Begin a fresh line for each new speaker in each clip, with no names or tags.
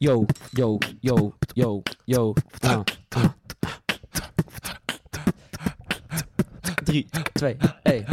yo, yo, yo, yo, yo. Ah, ah. Drie, twee, hey.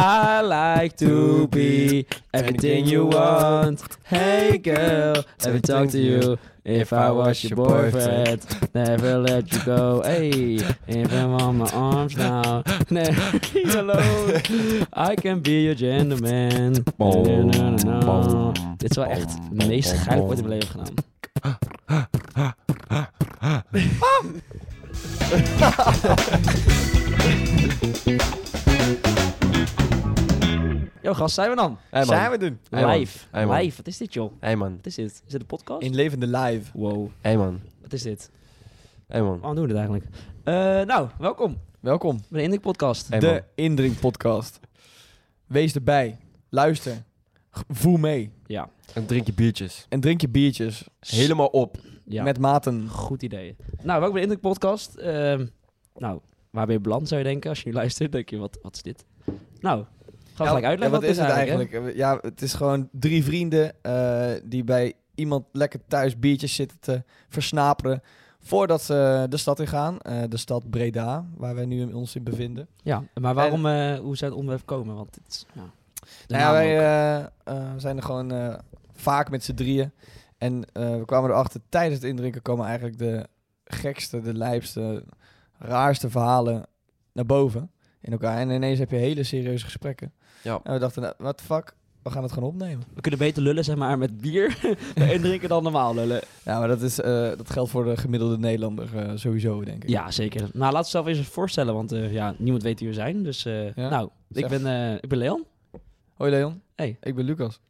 I like to be everything you want. Hey girl, every talk to you. If I was your boyfriend, never let you go. Hey, if I'm on my arms now, never leave alone. I can be your gentleman. No, no, no, no, no. Dit is wel echt het meest geil wat in mijn leven gedaan. Yo, gast, zijn we dan?
Hey man.
Zijn we doen.
Hey man.
Live.
Hey man.
Live. Wat is dit, joh?
Hey man.
Wat is dit? Is dit een podcast?
In levende live.
Wow.
Hey man.
Wat is dit?
Hey man.
Waarom doen we dit eigenlijk? Eh, nou, welkom
Welkom.
bij de Indrik Podcast.
Hey man.
de Indring Podcast. Wees erbij. Luister. G- Voel mee.
Ja.
En drink je biertjes.
En drink je biertjes.
Helemaal op.
ja.
Met maten.
Goed idee. Nou, welkom bij de Indruk Podcast. Ehm, nou, waar ben je beland, zou je denken? Als je nu luistert, denk je, wat, wat is dit? Nou, gaan we
Ja,
gelijk
ja,
uitleggen
wat
wat
is
dit
het eigenlijk? Ja, het is gewoon drie vrienden eh, die bij iemand lekker thuis biertjes zitten te versnaperen. Voordat ze de stad in gaan. Eh, de stad Breda, waar wij nu ons in bevinden.
Ja, maar waarom, eh, hoe zou het onderwerp komen? Want het is, nou, de
Nou ja,
naam
wij
ook.
eh, eh, zijn er gewoon eh, vaak met z'n drieën. En eh, we kwamen erachter, tijdens het indrinken komen eigenlijk de gekste, de lijpste, raarste verhalen naar boven in elkaar. En ineens heb je hele serieuze gesprekken.
Ja.
En we dachten, nou, what the fuck, we gaan het gewoon opnemen.
We kunnen beter lullen, zeg maar, met bier en drinken dan normaal lullen.
Ja, maar dat, is, eh, dat geldt voor de gemiddelde Nederlander eh, sowieso, denk ik.
Ja, zeker. Nou, laten we zelf eens voorstellen, want eh, ja, niemand weet wie we zijn. Dus, eh,
Ja.
nou, ik
Zeg.
ben, eh, ik ben Leon.
Hoi Leon.
Hey.
Ik ben Lucas.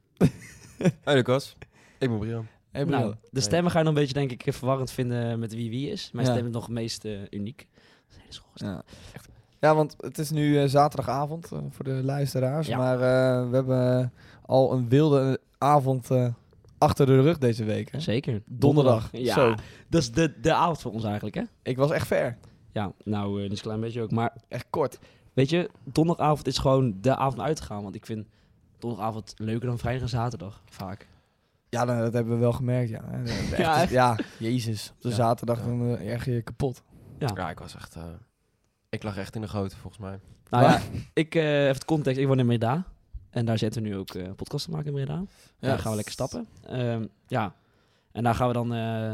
Hey Lucas. Ik ben Brian.
Hey,
Nou,
Bruno.
de stemmen ga je nog een beetje, denk ik, verwarrend vinden met wie wie is. Mijn
Ja.
stem is nog het meest eh, uniek. Dat is een hele school.
Ja. ja, want het is nu eh, zaterdagavond eh, voor de luisteraars.
Ja.
Maar eh, we hebben al een wilde avond eh, achter de rug deze week. Hè?
Zeker.
Donderdag.
Ja,
Zo.
dat is de, de avond voor ons eigenlijk, hè?
Ik was echt ver.
Ja, nou, eh, dat is een klein beetje ook. Maar
Echt kort.
weet je, donderdagavond is gewoon de avond om uit te gaan. Want ik vind donderdagavond leuker dan vrijdag en zaterdag, vaak.
Ja, nou, dat hebben we wel gemerkt. Ja, Eh, echt,
Ja, echt.
ja jezus. Op de
Ja.
zaterdag
Ja.
dan eh, erg je kapot.
Ja.
Ja, ik was echt... eh, ik lag echt in de goot volgens mij.
Nou
Maar-
ja, ik, eh even het context. Ik woon in Breda. En daar zitten we nu ook eh podcast te maken in Breda.
Ja.
Daar gaan we lekker stappen. Ehm, ja. En daar gaan we dan eh,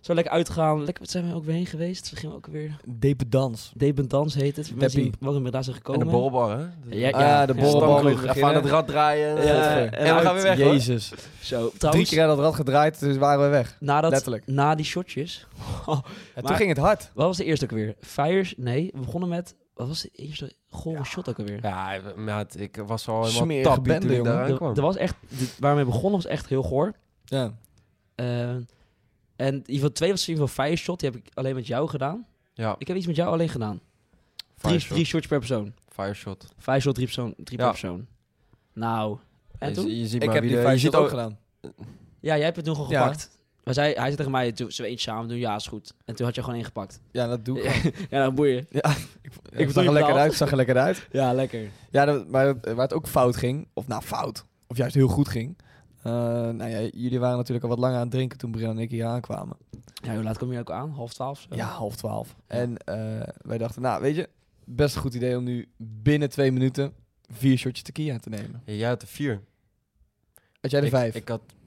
zo lekker uitgaan. Lekker, wat zijn we ook weer heen geweest? We gingen ook weer...
Dependans.
Dependans heet het. Voor Mensen die
Deppie.
wel in Breda zijn gekomen.
En de borrelbar, hè? De,
Ja,
Ah,
ja.
de
Ja.
borrelbar
Stamkroeg. Even
weer
aan
beginnen.
het rad draaien. en,
Ja,
eh,
Godver.
en dan gaan we weg, hoor.
Jezus.
Zo,
Drie
trouwens,
keer aan dat rad gedraaid, dus waren we weg.
nadat,
Letterlijk.
na die shotjes...
En
Maar-
toen ging het hard.
Wat was de eerste ook weer? Fires? Nee, we begonnen met... Wat was de eerste gore shot ook alweer?
Ja, maat, ik was al helemaal
Smerige
tappie toen
bende,
ik
jongen.
daaraan
Er
kwam.
er was echt... de- waar we mee begonnen was echt heel goor.
Ja.
Eh, en in ieder geval twee was in ieder geval fire shot. Die heb ik alleen met jou gedaan.
Ja,
Ik heb iets met jou alleen gedaan. Drie,
fireshot.
drie shots per persoon.
Fireshot.
Fire shot, drie, persoon, drie
Ja.
per persoon. Nou... En
Je-
toen?
Je ziet
Ik
maar
heb
wie
die
de- je
vijf
ziet
shot ook gedaan.
Ja, jij hebt het toen gewoon
Ja.
gepakt. Maar zij, hij zei tegen mij, "Doe- zullen we eentje samen doen? Ja, is goed. En toen had je gewoon één gepakt.
Ja, dat doe ik. gewoon.
ja, nou boeien.
Ik,
voel
zag
je
er lekker
betaald.
uit, zag er lekker uit.
Ja, lekker.
Ja, dat, maar dat- waar het ook fout ging, of nou fout, of juist heel goed ging. Eh, nou ja, jullie waren natuurlijk al wat langer aan het drinken toen Brian en ik hier aankwamen.
Ja, hoe laat kom je ook aan? Half twaalf? zo?
Ja, half twaalf.
Ja.
En eh, wij dachten, nou weet je, best een goed idee om nu binnen twee minuten vier shotjes tequila te nemen.
Ja, jij had de vier.
Had jij de
Ik-
vijf?
Ik had...
Jij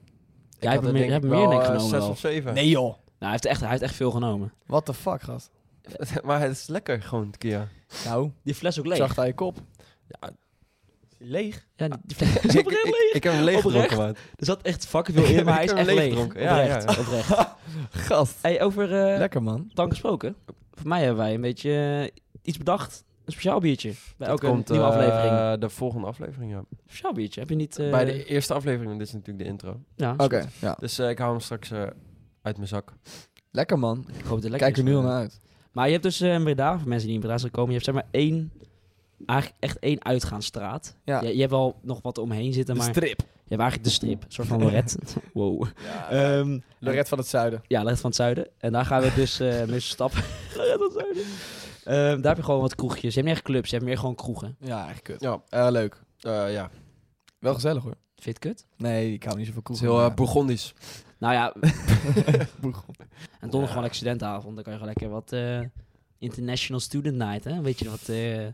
ik
hebt
had
meer-
er
jij hebt
denk ik
meer
wel,
denk ik
eh,
genomen
Zes
wel.
of zeven.
nee joh,
Nou, hij heeft echt, hij heeft echt veel genomen.
what the fuck gast.
maar het is lekker gewoon, Kia.
Nou,
Die fles ook
ik
leeg.
zag het aan je kop.
Ja,
Leeg?
Ja, die, die fles is
ik,
oprecht
ik,
leeg.
ik heb hem leeg
Oprecht?
gedronken, maat.
Er zat echt fucking veel in, maar hij
Ik
is echt
heb leeg
leeg.
gedronken. Ja,
oprecht,
ja.
oprecht.
Gast.
Hey, over eh,
Lekker man.
tank gesproken. Voor mij hebben wij een beetje eh, iets bedacht. Een speciaal biertje. Bij
Dat
elke
komt,
nieuwe
eh,
aflevering.
de volgende aflevering, ja.
Speciaal biertje. Heb je niet... eh,
Bij de eerste aflevering, want dit is natuurlijk de intro.
ja, is
Oké,
goed.
ja.
Dus eh, ik hou hem straks eh, uit mijn zak.
Lekker man.
Ik hoop dat het lekker
Kijk er
is.
nu al naar uit.
Maar je hebt dus eh, in Breda, voor mensen die in Breda zijn gekomen, je hebt zeg maar één... Eigenlijk echt één uitgaansstraat.
Ja.
Je, je hebt wel nog wat omheen zitten,
De
maar
strip.
je hebt eigenlijk de strip. Een soort van Lorette. wow.
Ja,
Ehm,
Lorette van het Zuiden.
Ja, Lorette van het Zuiden. En daar gaan we dus eh mee stappen. Lorette van het Zuiden. Ehm, daar heb je gewoon wat kroegjes. Je hebt niet echt clubs, je hebt meer gewoon kroegen.
Ja, echt kut.
Ja,
Eh, leuk.
eh, ja.
Wel gezellig hoor.
Vind je het kut?
Nee, ik hou niet zoveel
Het
cool.
is heel eh, Bourgondisch.
Nou ja. en donderdag gewoon lekker studentenavond. Dan kan je gewoon lekker wat eh, International Student Night, hè? Weet je wat eh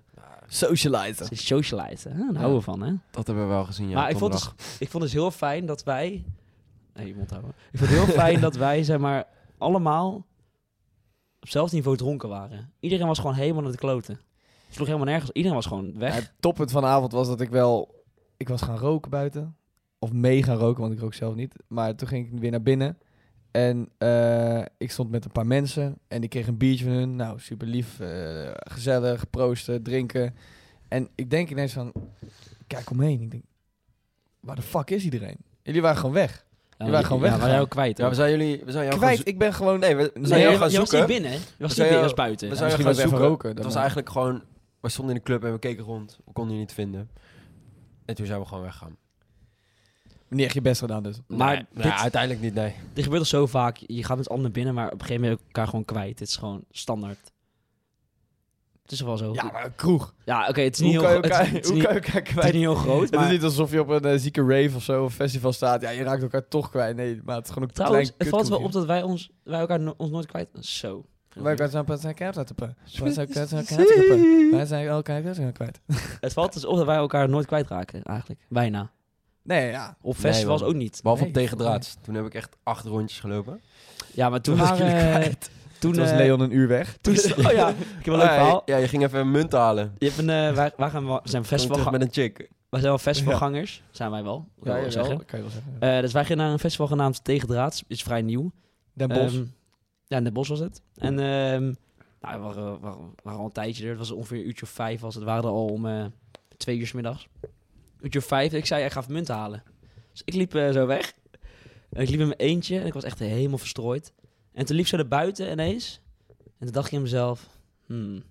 Socializen.
socializen. Hè? Daar houden we van, hè?
Dat hebben we wel gezien, ja.
maar ik vond,
donderdag.
het, dus, ik vond het heel fijn dat wij. Nee, je mond houden. Ik vond het heel fijn dat wij, zeg maar, allemaal op hetzelfde niveau dronken waren. Iedereen was gewoon helemaal naar de kloten. Het sloeg helemaal nergens. Iedereen was gewoon weg.
het toppunt van de avond was dat ik wel... Ik was gaan roken buiten. Of mee gaan roken, want ik rook zelf niet. Maar toen ging ik weer naar binnen. En eh, ik stond met een paar mensen. En ik kreeg een biertje van hun. Nou, super lief. eh, gezellig, proosten, drinken. En ik denk ineens van... ik Kijk omheen. Ik denk... Waar de fuck is iedereen? Jullie waren gewoon weg.
Ja,
je waren gewoon
Ja, we
weggegaan.
waren ook kwijt.
Ja, we zijn jullie... We zijn jou
Kwijt,
gaan
ik ben gewoon...
zo- Nee, we- we
Nee,
zijn jou
je,
gaan
je was niet
zoeken.
binnen. hè? Je was niet
zijn
binnen, je
jou-
was buiten.
We
Ja.
zijn
misschien
jou
was
gaan
ik
zoeken.
even roken,
Het was
daarna.
eigenlijk gewoon... We stonden in de club en we keken rond. We konden je niet vinden. En toen zijn we gewoon weggaan.
Niet echt je best gedaan dus.
Maar
Nee,
dit-
nou, uiteindelijk niet, nee.
Dit gebeurt al zo vaak. Je gaat met anderen binnen, maar op een gegeven moment ben je elkaar gewoon kwijt. Het is gewoon standaard. Het is toch wel zo.
Ja,
Ja,
maar een kroeg.
oké, het is
Hoe
niet
kan
heel
je
gro- het-
elkaar,
het is
hoe
niet-
kan je elkaar
het is
kwijt?
niet heel groot,
Het is
maar
niet alsof je op een eh, zieke rave of zo, of festival staat. Ja, je raakt elkaar toch kwijt. Nee, maar het is gewoon een
trouwens,
klein
het valt wel op
kutkoekje.
dat wij, ons, wij elkaar no- ons nooit kwijt... Zo.
Wij elkaar zijn pas elkaar uit te pakken. Wij zijn elkaar uit te pakken. Wij
Het
zijn elkaar uit te kwijt.
valt dus op dat wij elkaar nooit kwijtraken, eigenlijk. Bijna.
Nee, ja.
Op
Nee,
festivals
man.
ook niet.
Behalve op
Nee.
tegendraads. Toen heb ik echt acht rondjes gelopen.
Ja, maar toen
Toen was ik
waren...
jullie
Toen,
Toen was
eh,
Leon een uur weg.
toen is- oh ja, ik heb wel een leuk
Ah,
verhaal.
Ja, je ging even munt halen.
Je hebt een, eh, wij, wij gaan, we zijn
Best
festival,
terug met een chick.
wij zijn wel festivalgangers. Zijn wij wel, wil ik wel zeggen.
kan je wel zeggen.
Eh, dus wij gingen naar een festival genaamd Tegendraads. Is vrij nieuw.
Den Bosch.
Ehm, ja, in Den Bosch was het. En ehm nou, we, waren, we waren- we waren al een tijdje er. Het was ongeveer een uurtje of vijf. Was het. We waren er al om eh, twee uur 's middags. Uurtje of vijf. Ik zei, ik ga even munten halen. Dus ik liep eh, zo weg. En ik liep in mijn eentje. En ik was echt helemaal verstrooid. En toen liep ze naar buiten ineens. En toen dacht ik in mezelf... Hmm,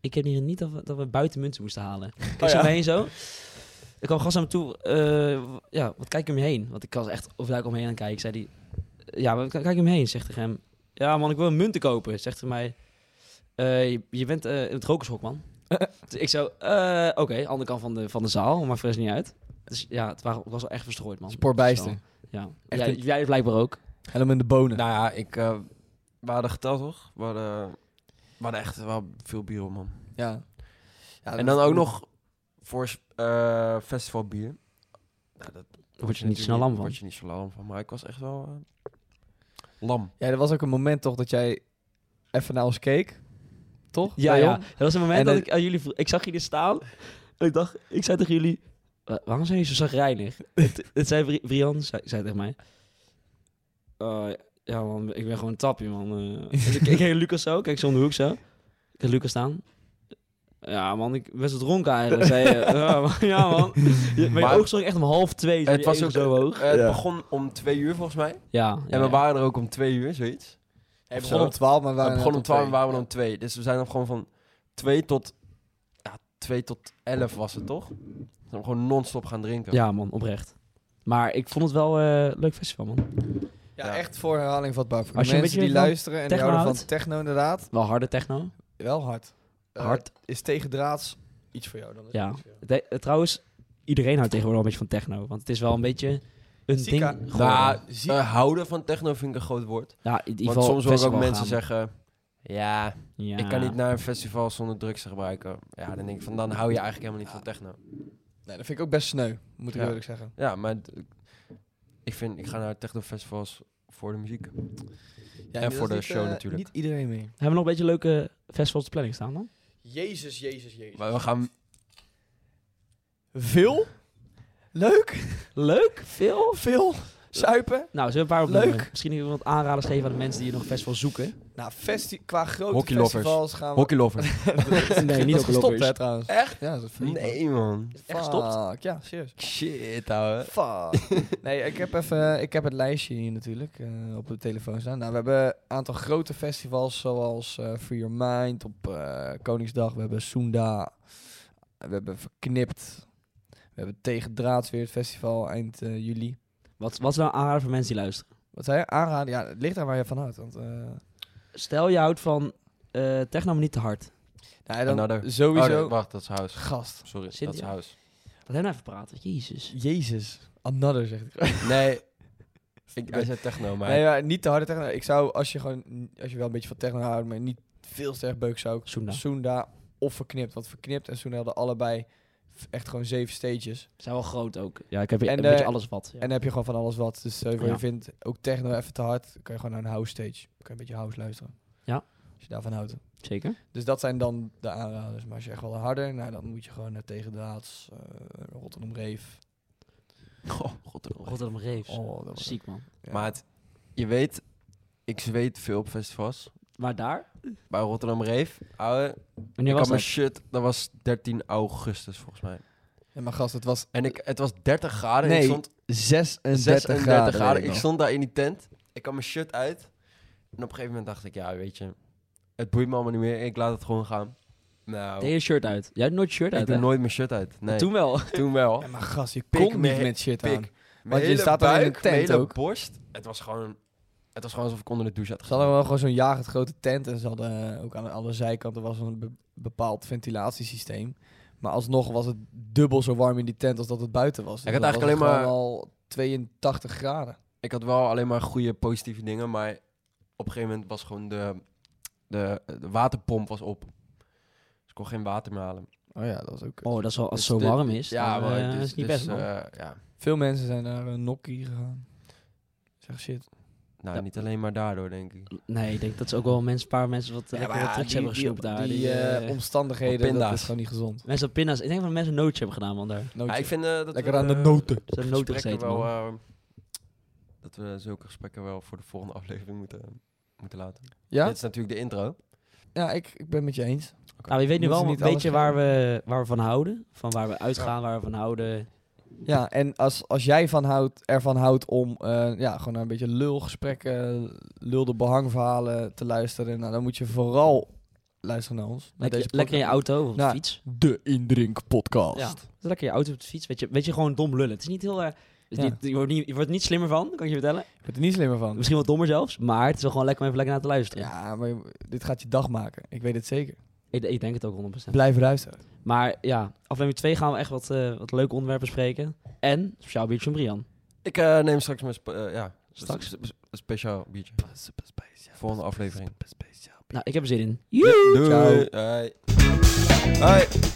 ik heb hier niet dat we, dat we buiten munten moesten halen. Ik keek zo
ja.
om me heen zo. Ik kwam gast naar me toe. eh, w- ja, wat kijk je om je heen? Want ik was echt overduik om me heen aan het kijken. Ik zei die, ja, wat k- kijk je om je heen? Zegt tegen hem, ja man, ik wil een munten kopen. Zegt hij mij, eh, je, je bent eh, in het rokershok, man. dus ik zo, eh, oké, andere kant van de, van de zaal, maar fris niet uit. Dus ja, het wa- was wel echt verstrooid, man.
Spoorbijster.
Zo, Ja,
Echt
jij,
een-
jij blijkbaar ook.
Helm in de bonen.
Nou ja, ik... eh we hadden geteld, toch? We hadden, we hadden echt wel veel bier op, man.
ja. Ja,
en dan ook nog voor eh festivalbier. Nou, dat
Daar word je niet snel lam van.
word je niet zo lam van. Maar ik was echt wel eh, lam.
Ja, er was ook een moment toch dat jij even naar ons keek. Toch?
Ja,
Leon?
ja, dat was het moment
En
dat
het-
ik aan jullie vroeg. Ik zag jullie staan en ik dacht, ik zei tegen jullie, "Wa- waarom zijn jullie zo zagrijnig? het, het zei Bri- Brian, zei, zei tegen mij, "Eh, ja man, ik ben gewoon een tappie man. eh." Dus ik, ik keek Lucas zo, kijk zo om de hoek zo. Ik had Lucas staan. Ja man, ik ben best wel dronken eigenlijk, zei je. Ja man, ja, man. Je, maar
Maar-
je oog stond echt om half twee. dus
Het was ook
zo hoog.
eh, het
Ja.
begon om twee uur, volgens mij.
Ja, ja,
en we
ja.
waren er ook om twee uur, zoiets.
Hij
Of
begon
zo.
om 12, maar we
We
waren
begonnen om
net
twaalf en
twee.
waren we er om twee. Dus we zijn dan gewoon van twee tot... Ja, twee tot elf was het, toch? Dan zijn we gewoon non-stop gaan drinken.
Ja, man, oprecht. Maar ik vond het wel eh, een leuk festival man.
Ja,
Ja.
echt voor herhaling vatbaar. Voor de
Als je
mensen
een
die
beetje van
luisteren en die
techno
houden van
houdt.
techno inderdaad.
Wel harde techno.
Wel hard. Eh,
Hard.
Is tegendraads iets voor jou dan? is
Ja.
het iets voor jou.
De- eh, trouwens, iedereen houdt tegenwoordig wel een beetje van techno. Want het is wel een beetje een
Zika.
ding geworden.
Nou,
Zie-
eh, houden van techno vind ik een groot woord.
ja, in ieder
Want
geval
soms hoor ik ook
festival
mensen
gaan.
zeggen... Ja,
Ja.
ik kan niet naar een festival zonder drugs te gebruiken. Ja, dan denk ik van, dan hou je eigenlijk helemaal niet van techno.
Nee, dat vind ik ook best sneu, moet ik
Ja.
eerlijk zeggen.
Ja, maar d- ik vind, ik ga naar technofestivals voor de muziek.
Ja,
En voor de show natuurlijk.
Niet iedereen mee.
Hebben we nog een beetje leuke festivals te planning staan dan?
Jezus, Jezus, Jezus.
Maar we gaan,
Veel? Leuk?
Leuk, veel.
Veel? Zuipen?
Nou, zullen we een paar
Leuk.
opnoemen? Misschien kunnen we wat aanraders geven aan de mensen die nog een festival zoeken.
Nou, festi qua grote
Hockeylovers.
festivals gaan we...
hockeylover.
nee, niet
dat is gestopt, hè,
oplopen.
trouwens.
Echt?
Ja, dat is failliet, man.
Nee, man.
Echt gestopt?
Fuck, Ja, serieus.
Shit, ouwe.
Fuck. nee, ik heb, even, ik heb het lijstje hier natuurlijk eh, op de telefoon staan. Nou, we hebben een aantal grote festivals zoals eh Free Your Mind op eh, Koningsdag. We hebben Soenda. We hebben Verknipt. We hebben Tegendraads weer het festival eind eh, juli.
Wat, wat is nou een aanrader voor mensen die luisteren?
Wat zei je? Aanraden? Ja, het ligt daar waar je van houdt. Want, eh, nou,
Stel je houdt van eh, techno, maar niet te hard.
en dan
Another.
sowieso...
Oh, nee, wacht, dat is house.
Gast.
Sorry,
Cynthia?
dat is house.
Laat hem nou even praten. Jezus.
Jezus. Another, zegt ik.
Nee, Ik, hij zei techno, maar...
Nee, maar niet te harde techno. Ik zou, als je gewoon, als je wel een beetje van techno houdt, maar niet veel te erg beuk, zou ik
Soenda.
Soenda of Verknipt. Want Verknipt en Soenda hadden allebei f- echt gewoon zeven stages.
Zijn wel groot ook. Ja, ik heb
En,
een beetje
eh,
alles wat. Ja.
En dan heb je gewoon van alles wat. Dus eh, voor
Ja.
je vindt ook techno even te hard, dan kan je gewoon naar een house stage. Dan kan je een beetje house luisteren.
Ja.
Als je daarvan houdt.
Zeker.
Dus dat zijn dan de aanraders. Maar als je echt wel harder, nou, dan moet je gewoon naar tegen de Haads, eh, Rotterdam Reef.
Oh, god, oh, god.
Rotterdam Reefs.
Oh, dat was-
Ziek man.
ja.
Maar het, je weet, ik zweet veel op festivals.
Maar daar?
Bij Rotterdam Reef, ouwe,
Wanneer
ik had
was
mijn
dat?
shit, dat was 13 augustus volgens mij.
Ja, maar gast, het was
En ik, het was 30 graden,
Nee,
ik stond
36,
36 graden.
graden.
Ik stond daar in die tent. Ik had mijn shirt uit. En op een gegeven moment dacht ik, ja, weet je, het boeit me allemaal niet meer. Ik laat het gewoon gaan. Nou,
Deed je shirt uit? Jij hebt nooit shirt
ik
uit,
doe
hè?
nooit mijn shirt uit. Nee, toen,
Toen wel.
wel.
Ja, maar gast, je
Pik
kon niet
me-
met shit
pik.
aan.
Mijn
je
hele
staat daar in een
mijn
tent
hele
ook.
borst. Het was gewoon, het was gewoon alsof ik onder de douche had
Ze hadden wel gewoon zo'n jagend grote tent en ze hadden eh, ook aan de andere zijkanten was een be- bepaald ventilatiesysteem. Maar alsnog was het dubbel zo warm in die tent als dat het buiten was. Dus
Ik had
dan
eigenlijk
was het
alleen
gewoon al 82 graden.
Ik had wel alleen maar goede positieve dingen, maar op een gegeven moment was gewoon de, de, de waterpomp was op. Dus ik kon geen water meer halen.
Oh ja, dat was ook...
Oh, dat is wel, als het zo
Dus dit-
warm is.
Ja,
dan,
maar
eh,
dus-
is het niet
dus,
best, man.
eh, ja.
Veel mensen zijn naar een Nokkie gegaan. Zeg shit.
Nou,
Ja.
niet alleen maar daardoor, denk ik.
Nee, ik denk dat ze ook wel mensen, een paar mensen wat,
Ja,
lekker
maar ja,
wat trucs
die-
hebben
die-
gesnoept daar.
Die,
Die,
eh,
eh, Ah,
omstandigheden, dat
pinda's.
is gewoon niet gezond.
mensen op pinda's. Ik denk dat mensen nootje hebben gedaan, man, daar.
Ja,
Nootje.
ik vind eh, dat
Lekker
we,
aan de
eh,
noten.
Ze hebben noten
gesprekken
gezeten,
wel,
man.
eh, dat we zulke gesprekken wel voor de volgende aflevering moeten, eh, moeten laten.
Ja?
Dit is natuurlijk de intro.
Ja, ik, ik ben met je eens.
Nou, je weet nu
Moeten
wel
ze
een
niet
beetje
alles
waar we, waar we van houden. Van waar we uitgaan, waar we van houden.
Ja, en als, als jij van houdt, ervan houdt om eh, ja, gewoon naar een beetje lulgesprekken, lulde behangverhalen te luisteren, nou, dan moet je vooral luisteren naar ons. Naar
Lekker,
podcast.
lekker in je auto of op de
Nou,
fiets.
De Indrink Podcast.
Ja, lekker in je auto op de fiets. Weet je, weet je gewoon dom lullen. Het is niet heel... eh, het is
Ja.
niet- je, wordt niet, je wordt er niet slimmer van, kan ik je vertellen.
Ik word er niet slimmer van.
Misschien wel dommer zelfs. Maar het is wel gewoon lekker om even lekker naar te luisteren.
Ja, maar je- dit gaat je dag maken. Ik weet het zeker.
Ik, ik denk het ook 100%.
Blijf luisteren.
Maar ja, aflevering 2 gaan we echt wat, eh, wat leuke onderwerpen bespreken. En speciaal biertje van Brian.
Ik eh, neem straks mijn spe- eh, ja,
Straks?
spe- spe- speciaal biertje. Volgende aflevering.
Nou, ik heb er zin in.
Doei.
Ciao.
Hoi. Hoi.